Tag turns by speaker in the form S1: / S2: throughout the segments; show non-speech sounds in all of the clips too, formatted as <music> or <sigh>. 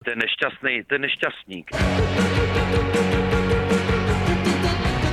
S1: Ten nešťastný, ten nešťastník.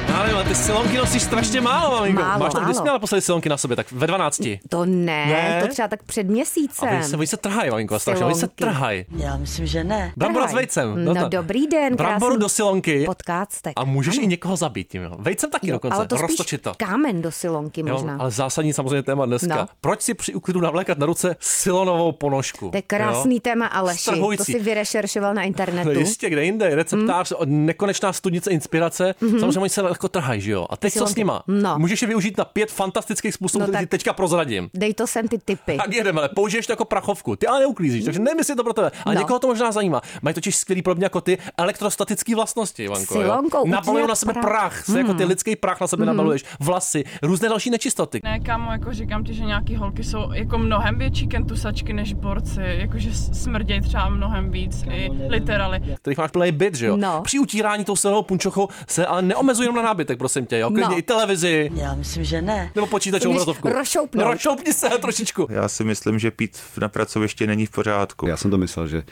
S2: No, ale, ale ty silonky nosíš strašně málo, maminko.
S3: Málo,
S2: Máš tam, kdy jsi
S3: málo.
S2: měla poslední silonky na sobě, tak ve 12.
S3: To ne,
S2: Ne?
S3: to třeba tak před
S2: A
S3: měsícem.
S2: oni se, oni se trhají, maminko, strašně, oni se
S3: Silonky.
S2: trhají.
S4: Já myslím, že ne.
S2: Brambora s
S3: Trhaj.
S2: vejcem.
S3: No,
S2: to-
S3: dobrý den,
S2: Bramboru
S3: krásný
S2: do silonky.
S3: Podcastek.
S2: A můžeš i někoho zabít tím, jo. Vejcem taky dokonce,
S3: ale to spíš
S2: roztočit to.
S3: kámen do silonky
S2: Jo,
S3: možná.
S2: ale zásadní samozřejmě téma dneska.
S3: No.
S2: Proč si při uklidu navlékat na ruce silonovou ponožku?
S3: To je krásný
S2: jo?
S3: téma, Aleši. To
S2: Strhující.
S3: si vyrešeršoval na
S2: No
S3: internetu.
S2: jistě, kde jinde, receptář, mm. nekonečná studnice inspirace, mm-hmm. samozřejmě oni se lehko trhají, že jo? A teď co s
S3: Mhm. silonky.
S2: nima?
S3: No.
S2: Můžeš je využít na pět fantastických způsobů,
S3: No
S2: které ti
S3: tak-
S2: teďka prozradím.
S3: Dej to sem ty
S2: <laughs>
S3: typy.
S2: Tak jedeme, ale použiješ to jako prachovku. Ty ale neuklízíš, takže nemyslí to pro tebe. Ale
S3: No.
S2: někoho to možná zajímá. Mají totiž skvělý podobně jako ty elektrostatické vlastnosti, Ivanko. jo.
S3: Silonkou udělat
S2: Nabalujou na sebe prach,
S3: prach. Hmm.
S2: se jako ty lidský prach na sebe nabaluješ, vlasy, různé další nečistoty.
S5: Ne, kámo, jako říkám ti, že nějaký holky jsou jako mnohem větší kentusačky než borci, jakože s- smrdějí třeba mnohem víc i literally.
S2: kterých máš plný byt, že jo?
S3: No.
S2: Při utírání tou silnou punčochou se ale neomezuj jenom na nábytek, prosím tě, jo? Klidně
S3: No.
S2: i televizi,
S4: Já myslím, že ne.
S2: nebo počítač
S3: Umíš
S2: obrazovku.
S3: rozšoupnout.
S2: Rozšoupni se trošičku.
S6: Já si myslím, že pít na pracovišti není v pořádku.
S7: Já jsem to myslel, že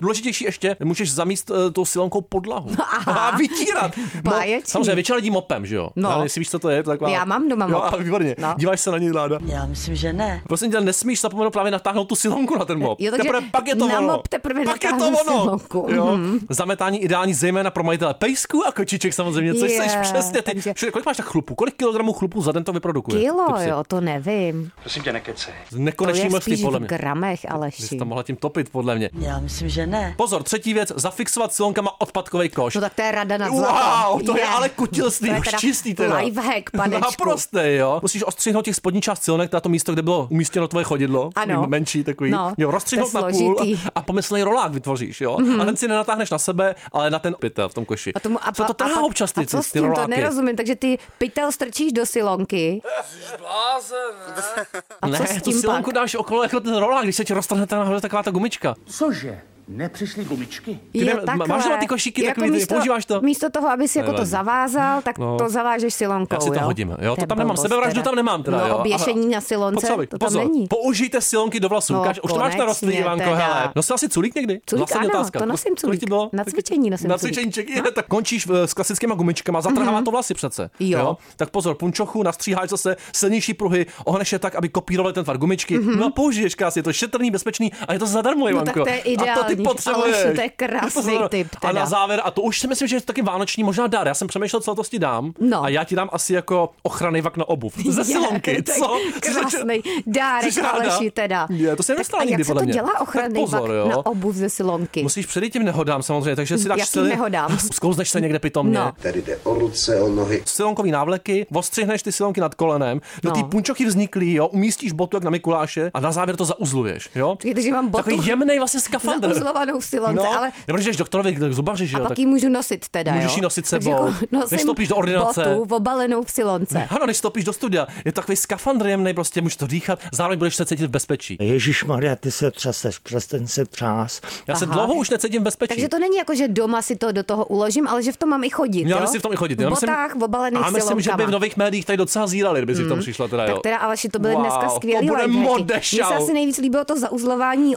S2: Důležitější ještě, můžeš zamíst uh, tou silonkou
S3: <laughs>
S2: podlahu. A vytírat. No,
S3: Báječný.
S2: samozřejmě, většina lidí mopem, že jo?
S3: No.
S2: Ale jestli víš, co to je, tak
S3: Já mám doma
S2: jo,
S3: mop.
S2: a <laughs> výborně. No.
S3: No.
S2: Díváš se na něj láda.
S4: Já myslím, že ne.
S2: Prosím tě, nesmíš zapomenout právě natáhnout tu silonku na ten mop.
S3: Jo, takže
S2: teprve pak je to
S3: na
S2: ono.
S3: mop teprve
S2: pak je to
S3: natáhnu
S2: ono.
S3: silonku. Mhm.
S2: Jo? Zametání ideální zejména pro majitele pejsků a kočiček samozřejmě, což
S3: Je,
S2: seš přesně ty.
S3: takže-
S2: Všude, kolik máš tak chlupu? Kolik kilogramů chlupu za den to vyprodukuje? ty
S3: Kilo,
S2: psy?
S3: jo, to nevím.
S2: Z
S3: To
S2: nekonečný
S3: je
S2: množství,
S3: spíš
S2: podle
S3: v
S2: mě.
S3: gramech,
S2: Ty jsi
S3: Aleši.
S2: to mohla tím topit, podle mě.
S4: Já myslím, že ne.
S2: Pozor, třetí věc, zafixovat silonkama odpadkový koš.
S3: No tak to je rada na zlato.
S2: Wow, to je,
S3: Je.
S2: ale kutilství,
S3: To je
S2: už
S3: teda
S2: čistý teda. <laughs>
S3: lifehack, panečku.
S2: Naprostý, jo. Musíš ostřihnout těch spodní část silonek, teda to místo, kde bylo umístěno tvoje chodidlo.
S3: Ano.
S2: Menší takový.
S3: No,
S2: jo,
S3: to je
S2: rozstřihnout na půl
S3: složitý. Mhm.
S2: a, a pomyslný rolák vytvoříš, jo. Mm-hmm. A ten si nenatáhneš na sebe, ale na ten pytel v tom koši.
S3: A, tomu, a,
S2: Co to
S3: a,
S2: trhá
S3: pak-
S2: občas ty,
S3: a co
S2: ty,
S3: s
S2: ty
S3: tím, to
S2: roláky.
S3: nerozumím, takže ty pytel strčíš do silonky. A
S2: ne,
S3: co s
S2: tu
S3: tím pak?
S2: silonku dáš okolo jako ten rolák, když se ti roztrhne ten nahoře taková ta gumička.
S8: Cože? Nepřišly gumičky?
S2: Ty ne-
S3: Jo,
S2: má-
S3: takhle.
S2: máš doma ty košíky
S3: Jako
S2: takový, ty
S3: místo,
S2: používáš to?
S3: Místo toho, abys jako to
S2: Nevadí.
S3: zavázal, tak
S2: No.
S3: to zavážeš silonkou,
S2: Já si to
S3: jo?
S2: hodím, jo, to
S3: je
S2: tam nemám,
S3: blbost
S2: sebevraždu tam nemám teda,
S3: no,
S2: jo,
S3: oběšení
S2: ale-
S3: na silonce,
S2: Pocovi,
S3: to tam
S2: pozor,
S3: není.
S2: použijte silonky do vlasů,
S3: No,
S2: Lukáš, už to máš na rostlině,
S3: konečně
S2: Ivanko,
S3: teda.
S2: hele. Nosila jsi culík někdy?
S3: Culík,
S2: Vlastně
S3: ano,
S2: otázka.
S3: to
S2: No,
S3: nosím
S2: Kolik ti
S3: culík.
S2: bylo?
S3: Na cvičení nosím
S2: Na
S3: culík. No. Mhm.
S2: cvičeníček, je, tak končíš eh, s klasickýma gumičkama, zatrhává to vlasy přece.
S3: Jo.
S2: Tak pozor, punčochu, nastříháš zase silnější pruhy, ohneš je tak, aby kopírovaly ten tvar gumičky. No a použiješ krásně, je to šetrný, bezpečný a je to zadarmo,
S3: Mhm. No
S2: Ivanko.
S3: tak to je
S2: A to ty
S3: ideální,
S2: potřebuješ.
S3: Aleši, to je
S2: Je to
S3: krásný
S2: zadarmo.
S3: tip
S2: A na
S3: teda.
S2: závěr, a to už si myslím, že je to taky vánoční možná dar. Já jsem přemýšlel, co to ti dám.
S3: No.
S2: A já ti dám asi jako ochranný vak na
S3: <laughs>
S2: obuv. Ze silonky,
S3: Je, tak
S2: co?
S3: Krásný dárek,
S2: Jsi ráda?
S3: Aleši, teda.
S2: Je, to jsem
S3: Tak
S2: nedostala
S3: a
S2: nikdy,
S3: jak se
S2: podle
S3: to
S2: mě.
S3: dělá ochranný
S2: Tak pozor,
S3: vak
S2: jo.
S3: na obuv ze silonky?
S2: Musíš předejít těm nehodám samozřejmě, takže si dáš
S3: Jakým
S2: sily-
S3: nehodám?
S2: <laughs> Zkouzneš se někde pitomně.
S3: No.
S8: Tady jde o ruce, o nohy.
S2: Silonkový návleky, ostřihneš ty silonky nad kolenem, do
S3: No.
S2: té punčochy vzniklý, jo, umístíš botu jak na Mikuláše a na závěr to zauzluješ, jo.
S3: Počkej, takže mám botu
S2: Takový jemný vlastně skafandr.
S3: zauzlovanou v silonce,
S2: no,
S3: ale
S2: Nebo když jdeš doktorovi k zubaři, že
S3: a
S2: jo, tak
S3: pak ji můžu nosit teda,
S2: Můžeš
S3: jo?
S2: ji nosit
S3: Takže
S2: sebou.
S3: jako nosím
S2: Nestoupíš do ordinace. Hm,
S3: botu obalenou v silonce.
S2: Ano, než vstoupíš do studia, je to takový skafandr jemný, prostě můžeš to dýchat, zároveň budeš se cítit v bezpečí.
S9: Ježíš Maria, ty se třeseš, přestaň se třás.
S2: Já se
S3: Aha.
S2: dlouho už necítím v bezpečí.
S3: Takže to není jako, že doma si to do toho uložím, ale že v tom mám i chodit.
S2: Já
S3: jo?
S2: myslím v tom i chodit.
S3: V
S2: Já myslím,
S3: botách, v obalených
S2: Já myslím, že by v
S3: silonkama. Hmm.
S2: nových médiích tady docela zírali, kdyby si v tom přišla teda, jo.
S3: Tak teda, Aleši, to byly dneska
S2: Wow,
S3: skvělý
S2: to bude
S3: lifehacky.
S2: mode
S3: Mně se
S2: show.
S3: asi nejvíc líbilo to zauzlování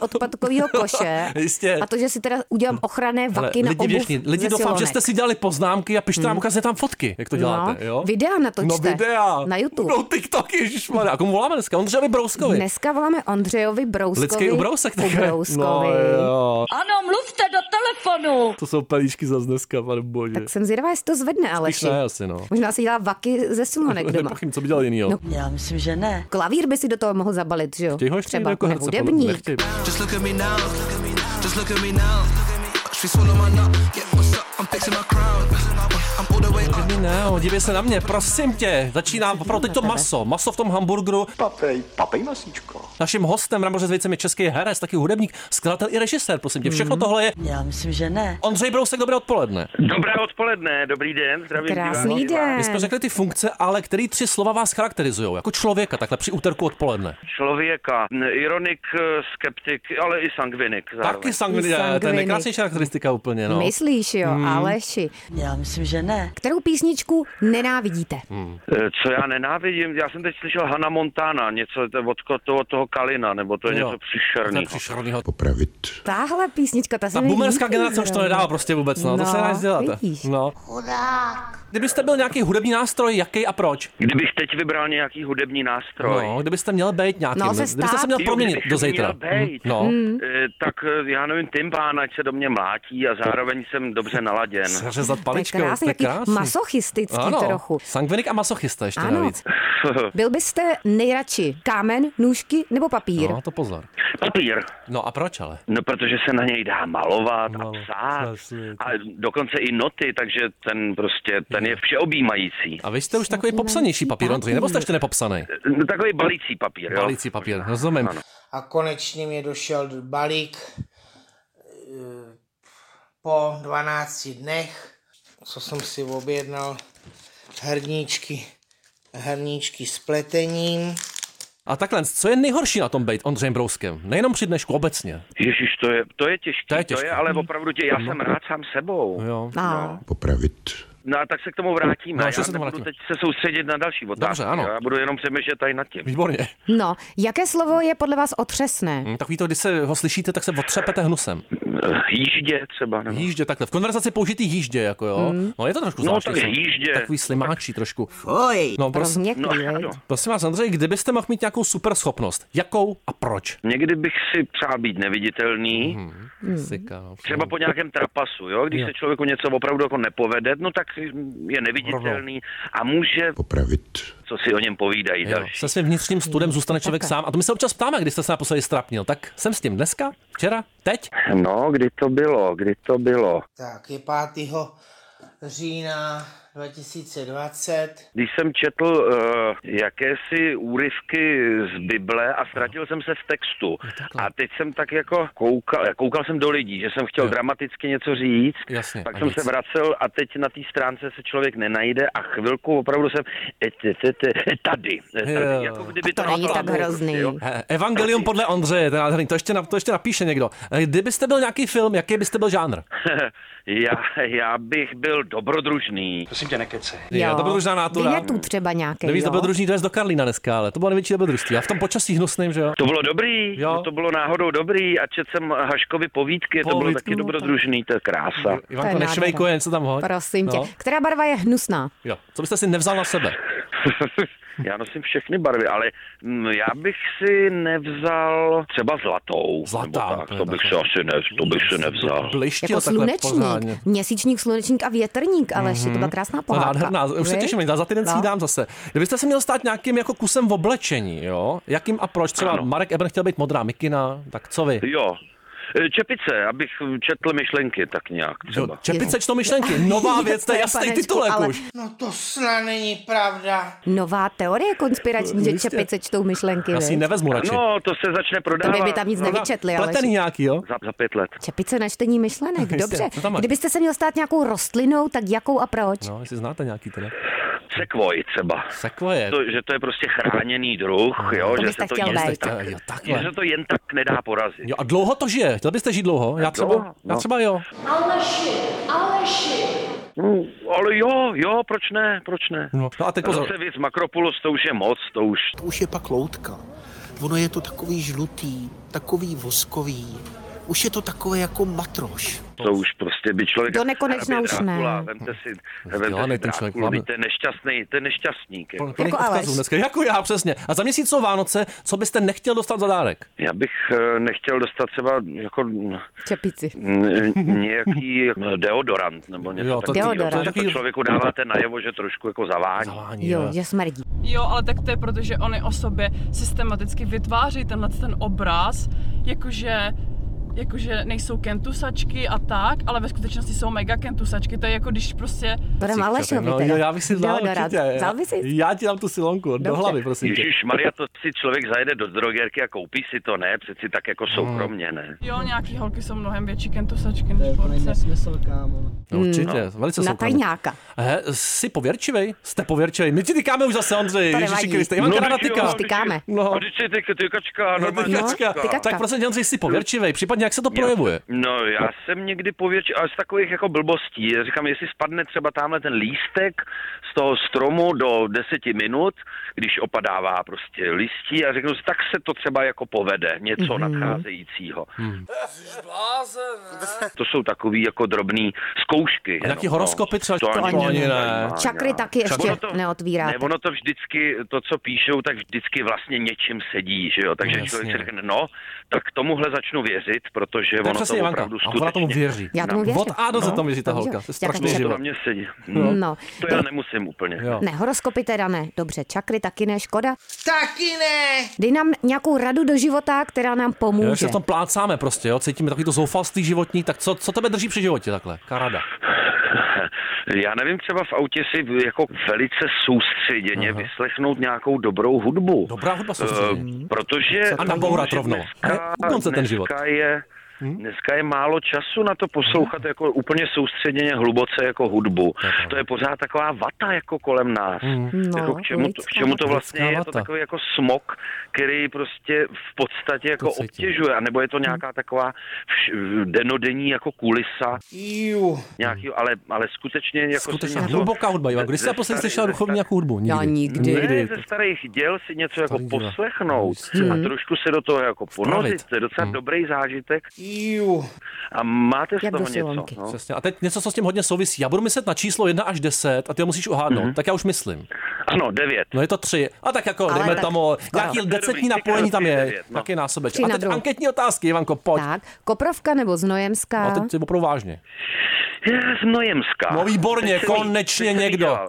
S2: <laughs>
S3: odpadkového koše.
S2: Jistě.
S3: A to, že si teda udělám ochranné
S2: Hele,
S3: vaky na
S2: lidi
S3: obuv
S2: věšní, lidi
S3: ze
S2: doufám, že
S3: silonek. Hmm.
S2: jste si dělali poznámky a pište nám ukazně tam fotky, jak to děláte,
S3: No,
S2: jo?
S3: videa natočte.
S2: No videa.
S3: Na YouTube.
S2: No TikTok, ježišmarja. A komu voláme dneska? Ondřejovi Brouskovi.
S3: Dneska voláme Ondřejovi Brouskovi.
S2: Lidský ubrousek. také.
S3: Ubrouskovi.
S2: No, jo.
S4: Ano, mluvte do telefonu.
S2: To jsou pelíšky za dneska, pane bože.
S3: Tak jsem zvědavá, jestli to zvedne,
S2: Spíš
S3: Aleši.
S2: ne, asi, no.
S3: Možná si dělá vaky
S2: <laughs>
S3: ze silonek doma.
S2: Nepochybím, co by dělal jinýho.
S3: No,
S4: Já myslím, že ne.
S3: Klavír by si do toho mohl zabalit, že jo?
S2: Chtěj ho ještě
S3: Třeba
S2: jako
S3: ne,
S2: herce, podle mě,
S3: hudebník.
S2: nechtěj.
S10: Just look at me now. Just look at me now. She swallow my nut. Yeah, what's up? I'm fixing my crown. I'm all the way up.
S2: Mě Ne, no, dívej se na mě, prosím tě. Začínám opravdu teď to maso. Maso v tom hamburgeru.
S8: Papej, papej masíčko.
S2: Naším hostem na moře s věcem je český herec, taky hudebník, skladatel i režisér, prosím tě.
S3: Hmm.
S2: Všechno tohle je
S4: Já myslím, že ne.
S2: Ondřej Brousek, dobré odpoledne.
S1: Dobré odpoledne, dobrý den, zdravím
S3: Krásný
S1: diváky.
S2: My jsme
S3: den.
S2: řekli ty funkce, ale který tři slova vás charakterizují jako člověka, takhle při úterku odpoledne.
S1: Člověka, n- ironik, eh, skeptik, ale i sangvinik zároveň.
S2: Taky sangvin,
S3: Sangvinik.
S2: to je nejkrásnější taktika úplně, no.
S3: Myslíš, jo, hmm. Aleši.
S4: Já myslím, že ne.
S3: Kterou písničku nenávidíte?
S2: Hmm.
S1: Eh, Co já nenávidím, já jsem teď slyšel Hanna Montana, něco to- od ko- toho, toho Kalina, nebo to je
S2: Jo.
S1: něco
S2: No, To je
S1: příšerného.
S2: příšernýho.
S3: Tahle písnička, ta se
S2: Ta
S3: mi
S2: boomerská
S3: líbí
S2: generace už to
S3: zrovna.
S2: nedá prostě vůbec, no, to se nedá nic dělat.
S3: Vidíš.
S2: No. Kdybyste byl nějaký hudební nástroj, jaký a proč?
S1: Kdybych teď vybral nějaký hudební nástroj,
S2: No, kdybyste měl být nějaký,
S3: No, se
S2: kdybyste se
S3: stát. Hmm.
S2: měl
S1: Jo,
S2: proměnit
S1: kdybych
S2: do
S1: měl
S2: zítra.
S1: bejt.
S2: No,
S3: Mhm.
S1: eh, tak eh, já nevím, tympán, ať se do mě mlátí a zároveň jsem dobře naladěn.
S2: seřezat
S3: To je
S2: paličkou,
S3: krásný,
S2: to je
S3: jaký
S2: krásný.
S3: masochistický
S2: ano,
S3: trochu.
S2: Sangvinik a masochista ještě
S1: <laughs>
S3: Ano.
S2: navíc.
S3: <laughs> Byl byste nejradši kámen, nůžky nebo papír?
S2: No, to pozor.
S1: Papír,
S2: No a proč ale?
S1: no protože se na něj dá malovat a
S2: Malovat,
S1: psát
S2: No, přesně.
S1: a dokonce i noty, takže ten prostě, ten je všeobjímající.
S2: A vy jste už takový
S3: Snad
S2: popsanější
S3: jenom
S2: papír, Ondřej, nebo jste ještě nepopsaný?
S1: No, Takový balící papír, jo?
S2: Balící papír, rozumím.
S1: Ano.
S7: A konečně mě došel balík eh, po 12 dnech, co jsem si objednal, herníčky, herníčky s pletením.
S2: A takhle, co je nejhorší na tom být Ondřejem Brouskem? Nejenom při dnešku, obecně.
S1: Ježíš, to je, to je těžké.
S2: To je
S1: to
S2: těžký. Mhm. No.
S1: je ale opravdu tě, já jsem rád sám sebou.
S2: Jo.
S3: A,
S1: No a tak se k tomu vrátíme.
S2: No,
S1: já
S2: ještě se k tomu
S1: nebudu
S2: vrátíme.
S1: teď se soustředit na další otázky.
S2: Dobře, ano.
S1: Já budu jenom přemýšlet tady nad tím.
S2: Výborně.
S3: no, jaké slovo je podle vás otřesné?
S2: Hm, Takový to, když se ho slyšíte, tak se otřepete hnusem.
S1: Eh, Jíždě třeba, nebo...
S2: Jíždě takhle. V konverzaci použitý jíždě, jako jo.
S3: Hmm.
S2: No je to trošku
S1: No,
S2: zvláštní.
S1: tak
S2: jsou
S1: jíždě.
S2: Takový slimáčí trošku. Fuj. No prosím,
S3: Rozměklý,
S1: No,
S3: veď?
S1: ano.
S2: prosím vás, Andrej, kdybyste mohl mít nějakou super schopnost, jakou a proč?
S1: Někdy bych si přál být
S2: Mhm.
S1: neviditelný,
S3: Hmm.
S2: Sika, no,
S1: třeba po nějakém trapasu, jo? Když se člověku něco opravdu jako nepovede, no tak je neviditelný a může popravit, co si o něm povídají
S2: Jo,
S1: další.
S2: se svým vnitřním studem zůstane člověk
S3: Hmm, Takhle.
S2: sám. A to my se občas ptáme, když jste se naposledy strapnil. Tak jsem s tím dneska, včera, teď.
S1: No, kdy to bylo, kdy to bylo.
S7: Tak je 5. října 2020.
S1: Když jsem četl uh, jakési úryvky z Bible a ztratil jsem se v textu. A teď jsem tak jako koukal, koukal jsem do lidí, že jsem chtěl
S2: Jo.
S1: dramaticky něco říct,
S2: Jasně,
S1: pak
S2: a
S1: jsem
S2: nic.
S1: se vracel a teď na té stránce se člověk nenajde a chvilku opravdu jsem e, te, te, te, e, tady. E,
S2: Jo.
S1: tady. Jako kdyby
S3: To není tak
S1: bylo,
S3: hrozný.
S1: jo. <laughs>
S2: Eh, Evangelium podle Ondřeje, ten nádherný, to ještě, na, to ještě napíše někdo. Eh, Kdybyste byl nějaký film, jaký byste byl žánr?
S1: já, já bych byl dobrodružný.
S8: Prosím tě, nekecej.
S2: Jo, dobrodružná natura.
S3: Vinětu třeba nějaký,
S2: Nevíš,
S3: jo?
S2: dobrodružný dres do Karlína dneska, ale to bylo největší dobrodružství. A v tom počasí hnusným, že jo?
S1: To bylo dobrý,
S2: Jo.
S1: jo. to bylo náhodou dobrý a četl jsem Haškovi povídky, povídky to bylo
S2: Povídky,
S1: taky
S2: no,
S1: dobrodružný, to je krása.
S2: Ivanko,
S3: nádhera.
S2: nešvejko, jen se tam hoď.
S3: Prosím tě.
S2: No.
S3: Která barva je hnusná?
S2: Jo. Co byste si nevzal na sebe?
S1: <laughs> Já nosím všechny barvy, ale mm, já bych si nevzal třeba zlatou.
S2: Zlatá,
S1: nebo tak,
S2: úplně Hm,
S1: to bych si
S2: takhle.
S1: asi ne, to bych si nevzal.
S2: Blištil
S3: Jako
S2: takhle
S3: slunečník,
S2: pořádně.
S3: měsíčník, slunečník a větrník, ale ještě to byla krásná
S2: To je
S3: pohádka.
S2: nádherná, už se
S3: Viď?
S2: těším, za týden si
S3: No.
S2: ji dám zase. Kdybyste se měl stát nějakým jako kusem v oblečení, jo? Jakým a proč? Třeba
S1: Ano.
S2: Marek Eben chtěl být modrá mikina, tak co vy?
S1: Jo. E, Čepice, abych četl myšlenky tak nějak
S2: Jo,
S1: třeba.
S2: čepice čtou
S3: <laughs>
S2: myšlenky, nová věc, to je jasný
S3: Panečku,
S2: titulek
S3: ale-
S2: už.
S7: No to snad není pravda.
S3: Nová teorie konspirační, že
S2: Jistě.
S3: čepice čtou myšlenky,
S2: Já si ji
S3: viď?
S2: nevezmu radši.
S1: No, to se začne
S3: To by,
S1: prodávat
S3: by tam nic nevyčetli, ale
S2: Pletený nějaký, jo?
S1: za, za pět let.
S3: čepice na čtení myšlenek,
S2: Jistě,
S3: dobře.
S2: co tam máš?
S3: Kdybyste se měl stát nějakou rostlinou, tak jakou a proč?
S2: No, jestli znáte nějaký teda.
S1: Sekvoj třeba.
S2: Sekvoje.
S1: To, že to je prostě chráněný druh, jo,
S3: To
S1: že
S3: bych
S1: se
S3: tak
S1: to,
S3: chtěl
S1: jen
S3: být.
S1: tak,
S2: Jo,
S1: že
S2: takhle.
S1: se to jen tak nedá porazit.
S2: Jo, a dlouho to žije. Chtěl byste žít dlouho? Já třeba,
S1: Dlouho,
S2: já
S1: no.
S2: třeba jo.
S1: Mm, Ale jo, jo, proč ne, proč ne?
S2: No, no a teď pozor.
S1: Zase víc Makropulos, to už je moc, to už,
S7: To už je pak loutka. Ono je to takový žlutý, takový voskový. Už je to takové jako matroš.
S1: To už prostě by člověk...
S3: Do nekonečna
S1: Hrabě
S3: už
S1: Drácula,
S3: ne.
S1: Vemte si,
S2: No, Vzdělaný
S1: vemte si
S2: ten člověk,
S1: Dráculu,
S2: máme.
S1: víte, nešťastný, ten nešťastník. Jako.
S2: Plných
S3: Aleš.
S2: odkazů dneska. Jako já, přesně. A za měsíc jsou Vánoce, co byste nechtěl dostat za dárek?
S1: Já bych eh, nechtěl dostat třeba jako n-
S3: Čepici.
S1: n-
S2: <laughs>
S1: nějaký deodorant nebo něco
S2: Jo, to-
S1: takového.
S3: Deodorant.
S1: protože to člověku dáváte najevo, že trošku jako zavání.
S2: Zavání,
S3: Jo, že smrdí.
S5: Jo, ale tak to je proto, že oni o sobě systematicky vytváří tenhle ten obraz, jakože jakože nejsou kentusačky a tak, ale ve skutečnosti jsou mega kentusačky. To je jako když prostě
S3: To dám Alešovi
S2: no,
S3: teda.
S2: jo, já bych si vzal
S3: Deodorant.
S2: určitě. Já-
S3: Vzal by si?
S2: Já ti dám tu silonku do
S3: Dobře.
S2: hlavy, prosím tě.
S1: Ježíš Maria, to si člověk zajede do drogerky a koupí si to, ne? Přeci tak jako
S2: No.
S1: soukromně, ne?
S5: jo, nějaký holky jsou mnohem větší kentusačky než borce.
S2: No, určitě, velice
S3: Mm. Na
S2: soukromý.
S3: tajňáka.
S2: He, jsi pověrčivej? Jste pověrčivej? My ti tykáme už zase, Ondřej.
S3: To
S2: Ježíši
S3: nevadí.
S2: Kriste. Ivanka no,
S1: teď jo,
S2: natyká.
S1: teď-
S3: Tykáme.
S2: No.
S1: A teď si ty, ty kačka,
S2: No,
S1: normálně.
S2: tykačka.
S3: no, tykačka.
S2: Tak prosím tě, Ondřej, jsi pověrčivej. Případně jak se to projevuje?
S1: No, já jsem někdy pověč, ale z takových jako blbostí. Já říkám, jestli spadne třeba tamhle ten lístek z toho stromu do deseti minut, když opadává prostě listí a řeknu si, tak se to třeba jako povede, něco mm-hmm.
S2: Mhm.
S1: nadcházejícího. Mm. To jsou takový jako drobný zkoušky.
S2: A taky
S1: jenom, no.
S2: horoskopy třeba?
S1: To ani
S2: ani ne.
S1: nezajímá,
S3: Čakry
S1: no.
S3: taky ještě
S1: Ono to-
S3: neotvíráte.
S1: Ne, ono to vždycky, to, co píšou, tak vždycky vlastně něčím sedí, že jo? Takže
S2: No,
S1: člověk si
S2: jasně.
S1: řekne, no, tak tomuhle začnu věřit, protože
S2: To je
S1: ono to
S2: přesně Ivanka.
S1: opravdu
S2: A ona tomu
S1: skutečně...
S2: věří.
S3: Já tomu věřím.
S2: Od A do Z
S3: No,
S2: tam věří ta
S3: dobře.
S2: holka. To je
S3: Já taky
S2: strašný
S3: čekám.
S1: To
S2: život.
S1: na mě sedí.
S3: No.
S1: To já nemusím úplně.
S2: Jo.
S3: Ne, horoskopy teda ne. Dobře, čakry taky ne, škoda.
S7: Taky ne!
S3: Dej nám nějakou radu do života, která nám
S2: Jo, jak
S3: pomůže.
S2: se v tom plácáme prostě, jo? cítíme takový to zoufalství životní, tak co, co tebe drží při životě takhle? Karada.
S1: <laughs> Já nevím, třeba v autě si jako velice soustředěně Aha. vyslechnout nějakou dobrou hudbu.
S2: Dobrá hudba soustředění.
S1: Eh, protože...
S2: A nabourat
S1: protože
S2: rovnou.
S1: Dneska,
S2: U konce ten život.
S1: Dneska je, dneska je málo času na to poslouchat jako úplně soustředěně, hluboce jako hudbu. To je pořád taková vata jako kolem nás.
S3: No,
S1: jako k, čemu to, k
S3: lidská
S1: čemu to
S3: vata.
S1: vlastně
S2: Lidská
S1: je, je to
S2: vata.
S1: takový jako smog, který prostě v podstatě jako
S2: cítím.
S1: obtěžuje, anebo
S2: Hm.
S1: je to nějaká taková vš, denodenní jako kulisa
S2: Hm.
S7: Jú.
S1: nějakýho, ale, ale skutečně jako si
S2: Skutečně
S1: něco-
S2: hluboká hudba, Ivan. Když
S1: ze
S2: jsi naposledy
S1: starých-
S2: slyšel
S1: ze
S2: duchovní
S1: starých-
S2: nějakou hudbu? Nikdy.
S3: Já nikdy.
S1: ne,
S2: Nikdy.
S1: ze starých děl si něco jako
S2: Starých děl.
S1: poslechnout
S2: Jistě.
S1: a trošku se do toho jako ponořit. To je
S2: No.
S1: docela dobrý zážitek
S7: Jú.
S1: a máte z
S3: Jak
S1: toho
S3: do
S1: něco.
S3: Solonky.
S1: No.
S2: Přesně. A teď něco, co s tím hodně souvisí. Já budu myslet na číslo 1 až 10 a ty ho musíš uhádnout.
S1: Mhm.
S2: Tak já už myslím.
S1: Ano, devět.
S2: No je to 3. A tak jako,
S3: Ale
S2: dejme
S3: tak-
S2: tomu, nějaký
S1: To je dobrý,
S2: decentní napojení tam
S1: tři krát
S2: je.
S1: devět, no.
S2: Taky násobeč.
S3: Tři
S2: A
S3: na
S2: teď
S3: druhou.
S2: anketní otázky, Ivanko, pojď.
S3: Tak, Koprovka nebo
S2: A
S3: Znojemská?
S2: teď je opravdu vážně.
S1: Je Z Nojemská.
S2: No výborně,
S1: Teď jsem jí-
S2: konečně
S1: teď jsem jí
S2: někdo.
S1: dělal.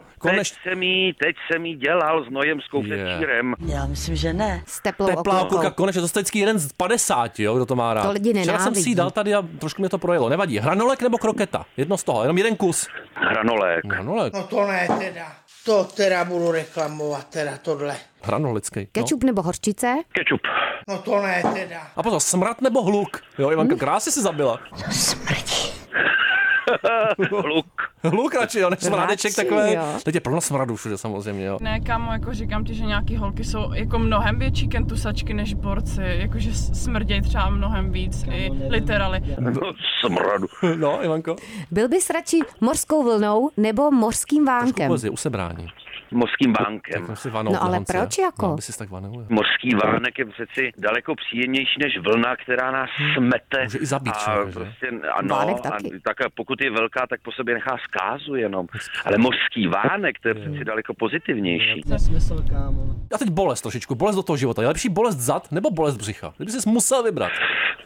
S1: Teď
S2: Koneč-
S1: jsem jí, teď jsem jí dělal s Nojemskou
S2: Je.
S1: předčírem.
S4: Já myslím, že ne.
S3: S teplou
S2: Teplá
S3: okulkou.
S2: okulka, konečně to je vždycky jeden z 50, jo, kdo to má rád.
S3: To lidi
S2: Včera jsem si ji
S3: nenávidí.
S2: dal tady a trošku mě to projelo, nevadí. Hranolek nebo kroketa? Jedno z toho, jenom jeden kus.
S1: Hranolek.
S2: Hranolek,
S7: No to ne teda. To teda budu reklamovat, teda tohle.
S2: hranolický. No.
S3: Kečup nebo horčice?
S1: Kečup.
S7: No to ne teda.
S2: A pozor, smrad nebo hluk? Jo,
S3: Hmm.
S2: Ivanka, krásně si zabila. No.
S1: Luk.
S2: Hluk radši, jo, než smradeček
S3: Radši,
S2: takhle.
S3: jo.
S2: Teď je plno smradu všude samozřejmě, jo. <laughs>
S5: Ne, kámo, jako říkám ti, že nějaký holky jsou jako mnohem větší kentusačky než borci, jakože s- smrděj třeba mnohem víc i literally.
S1: Smradu.
S2: No, Ivanko.
S3: Byl bys radši morskou vlnou nebo mořským
S2: Trošku
S3: vánkem?
S2: poezie, usebrání.
S1: Mořským bánkem.
S2: Jsem si vanou
S3: No, ale
S2: na Honce.
S3: proč jako?
S2: No, by si tak vanil, jo.
S1: Mořský vánek je přeci daleko příjemnější než vlna, která nás smete.
S2: Hmm. Může i zabít
S1: a
S2: člověka, že?
S1: prostě, ano,
S3: Vánek
S1: a
S3: taky.
S1: tak a pokud je velká, tak po sobě nechá zkázu jenom. Ale mořský vánek, to je přeci daleko pozitivnější.
S2: A teď bolest trošičku, bolest do toho života. Je lepší bolest zad nebo bolest břicha? Kdyby jsi musel vybrat.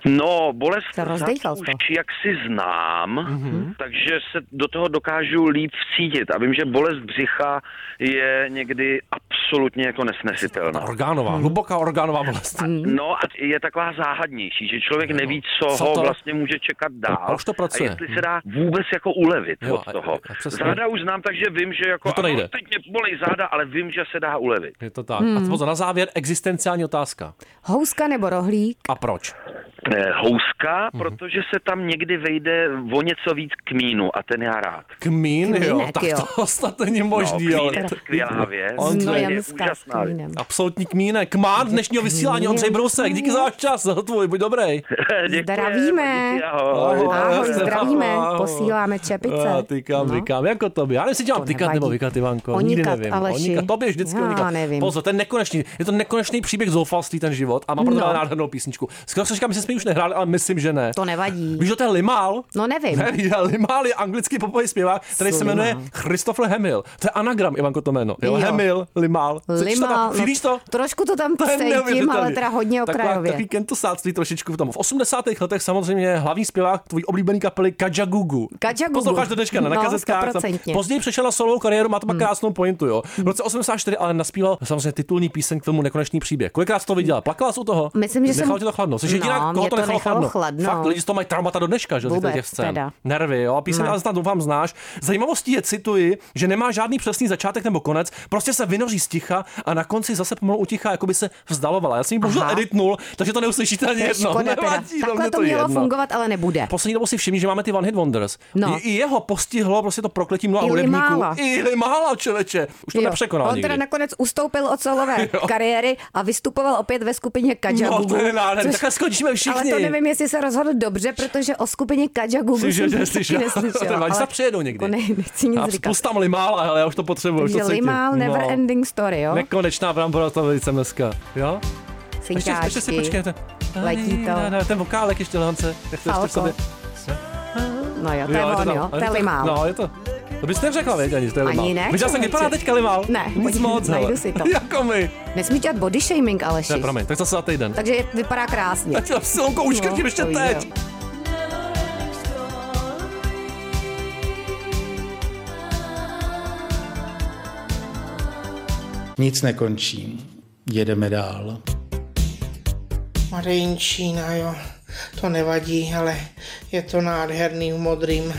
S1: No, bolest
S3: Se rozdejchal
S1: už
S3: z toho.
S1: jak si znám,
S2: Mhm.
S1: mm-hmm. takže se do toho dokážu líp vcítit. A vím, že bolest břicha je někdy absolutně jako nesnesitelná.
S2: Orgánová,
S3: Hmm.
S2: hluboká orgánová bolest. <laughs>
S1: No a je taková záhadnější, že člověk neví, co,
S2: Hmm? Co
S1: ho
S2: to?
S1: vlastně může čekat dál.
S2: A už to pracuje. Hmm.
S1: A jestli se dá vůbec jako ulevit
S2: Jo,
S1: od
S2: a-
S1: toho.
S2: a přesně.
S1: záda už znám, takže vím, že jako
S2: No to nejde.
S1: ano, teď mě bolí záda, ale vím, že se dá ulevit.
S2: Je to tak.
S3: Hmm.
S2: A pozor, na závěr existenciální otázka.
S3: Houska nebo rohlík?
S2: A proč?
S1: Eh, Houska,
S2: Mhm.
S1: protože se tam někdy vejde o něco víc kmínu a ten já rád. <laughs>
S2: Kmín, jo,
S3: Kmínek,
S2: tak
S3: jo.
S2: to <laughs> snad není možný,
S1: no,
S2: ale...
S1: kmín je skvělá věc.
S2: On to je
S3: Znojemská s
S1: úžasná věc.
S3: kmínem.
S2: Absolutní kmínek. Kmán dnešního vysílání Ondřej Brousek. Díky za váš čas. Za tvůj, buď dobrý.
S1: Děkuji,
S3: Zdravíme.
S1: díky, ahoj.
S3: Ahoj,
S2: Ahoj.
S3: zdravíme,
S2: Ahoj.
S3: posíláme čepice.
S2: A tykám, no. tykám, jako tobě. Já nevím, jestli dělám
S3: To
S2: tykat
S3: nevadí.
S2: nebo vykat, Ivanko. Nikdy
S3: Onikat,
S2: nevím.
S3: Aleši.
S2: Onikat, tobě vždycky
S3: Já
S2: onikat.
S3: nevím.
S2: Pozor, ten nekonečný, je to nekonečný příběh zoufalství, ten život. A má pro tebe
S3: No.
S2: nádhernou písničku. Skoro se říkám, my jsme ji už nehráli, ale myslím, že ne.
S3: To nevadí.
S2: Víš, že to je Limal?
S3: No nevím.
S2: Neví, ale Limal je anglický popový zpěvák, který se
S3: Co Limal?
S2: jmenuje Christopher Hemil. To je anagram, Ivanko, to jméno. Jo,
S3: Jo.
S2: Hemil, Limal. Slyšíš to tam?
S3: Lima, no,
S2: Vidíš to?
S3: trošku to tam cítím, ale
S2: neuvěřitelný.
S3: teda hodně
S2: Taková-
S3: okrajově.
S2: Takový kentosáctví trošičku v tom. V 80. letech samozřejmě hlavní zpěvák tvůj oblíbený kapely Kajagugu.
S3: Kajagugu.
S2: Posloucháš do dneška ne? na
S3: No,
S2: kazetkách. tam.
S3: stoprocentně. Hmm.
S2: Později přešel na solovou kariéru, má to pak krásnou pointu, jo. V roce 84 ale naspíval samozřejmě titulní píseň k tomu nekonečný příběh. Kolikrát jsi to viděla? Plakala jsi u toho?
S3: Myslím, že
S2: nechalo
S3: jsem-
S2: tě to chladno. Jsi
S3: No,
S2: jediná, koho
S3: mě
S2: to
S3: to
S2: nechalo,
S3: nechalo chladno.
S2: Fakt, lidi z toho mají traumata do dneška, že jo,
S3: Vůbec,
S2: těch scén.
S3: teda.
S2: Nervy, jo. A píseň
S3: No.
S2: ale snad doufám znáš. Zajímavostí je, cituji, že nemá žádný přesný začátek nebo konec, prostě se vynoří z ticha a na konci zase pomalu utichá, jako by se vzdalovala. Já jsem ji bohužel
S3: Aha.
S2: editnul, takže to neuslyšíte ani
S3: To je
S2: jedno.
S3: škoda teda.
S2: Nevadí,
S3: Takhle
S2: mě
S3: to mělo
S2: jedno.
S3: fungovat, ale nebude.
S2: Poslední dobou si všimni, že máme ty One Hit Wonders.
S3: No.
S2: I, I, jeho postihlo prostě to prokletí mnoha
S3: I
S2: hudebníků.
S3: Limála.
S2: I Limála, člověče. Už to
S3: Jo.
S2: nepřekonal
S3: On
S2: nikdy.
S3: teda nakonec
S2: <laughs>
S3: ustoupil od solové kariéry a vystupoval opět ve skupině
S2: No,
S3: Kajagugu.
S2: to je nádherné.
S3: což
S2: Takhle skončíme všichni
S3: Ale
S2: všichni.
S3: to nevím, jestli se rozhodl dobře, protože o skupině Kajagu
S2: Jsi, že
S3: jsem taky
S2: neslyšel.
S3: neslyšela.
S2: Třeba, když se
S3: ale
S2: přijedou někdy.
S3: jako Ne, nechci nic
S2: A
S3: říkat.
S2: spust tam limál, ale já už to potřebuju. už
S3: Takže
S2: to cítím.
S3: Limál, never
S2: No.
S3: ending story, jo?
S2: Nekonečná brambora to velice dneska. Jo? Ještě, ještě si
S3: Synkáčky.
S2: počkejte.
S3: Letí to.
S2: Ne, ne, Ten vokálek ještě lehance. Nechte ještě v
S3: Falco.
S2: sobě.
S3: No jo, to je on,
S2: tam.
S3: jo?
S2: Ale
S3: To je
S2: tak-
S3: Limál.
S2: No, je to. To byste neřekla, věď, ani, že to je
S3: Ani
S2: Limál.
S3: ne,
S2: Víš, já jsem
S3: člověče.
S2: vypadá teďka Limál.
S3: Ne,
S2: Nic
S3: počkej,
S2: moc, hele.
S3: najdu si to.
S2: <laughs> Jako my.
S3: Nesmí dělat body shaming, Aleši.
S2: Ne, promiň, tak zase za týden.
S3: Takže je- vypadá krásně.
S2: Já ti na silonko uškrtím
S3: No,
S2: ještě
S3: to
S2: teď.
S3: jo.
S9: Nic nekončí. Jedeme dál.
S7: Marinčína, jo. To nevadí, ale je to nádherný v modrým.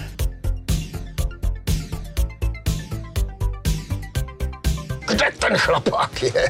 S11: Kde ten chlapák je?